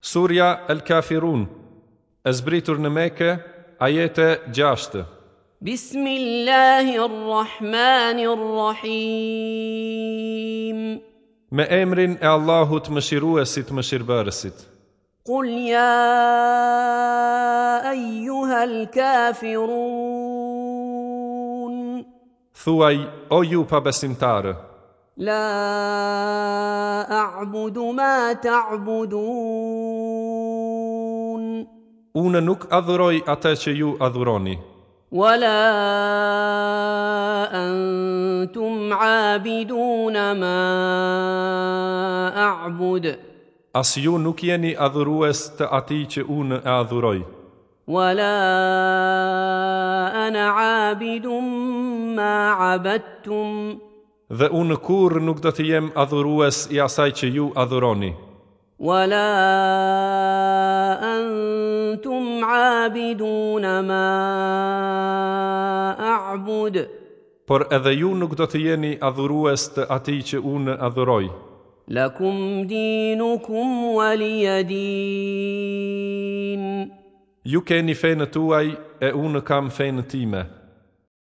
Surja El Kafirun, e zbritur në Mekë, ajete 6. بسم الله الرحمن الرحيم Me emrin e Allahut mëshiruesit mëshirbërësit. قل يا أيها الكافرون Thuaj, o ju pa besimtarë, لا أعبد ما تعبدون unë nuk adhuroj atë që ju adhuroni, ولا أنتم عابدون ما أعبد as ju nuk jeni adhurues të ati që unë e adhuroj, ولا أنا عابد ما عبدتم dhe unë kur nuk do të jem adhurues i asaj që ju adhuroni, ولا أنتم عابدون ما أعبد por edhe ju nuk do të jeni adhurues të ati që unë adhuroj, لكم دينكم ولي دين ju keni fejnë tuaj e unë kam fejnë time.'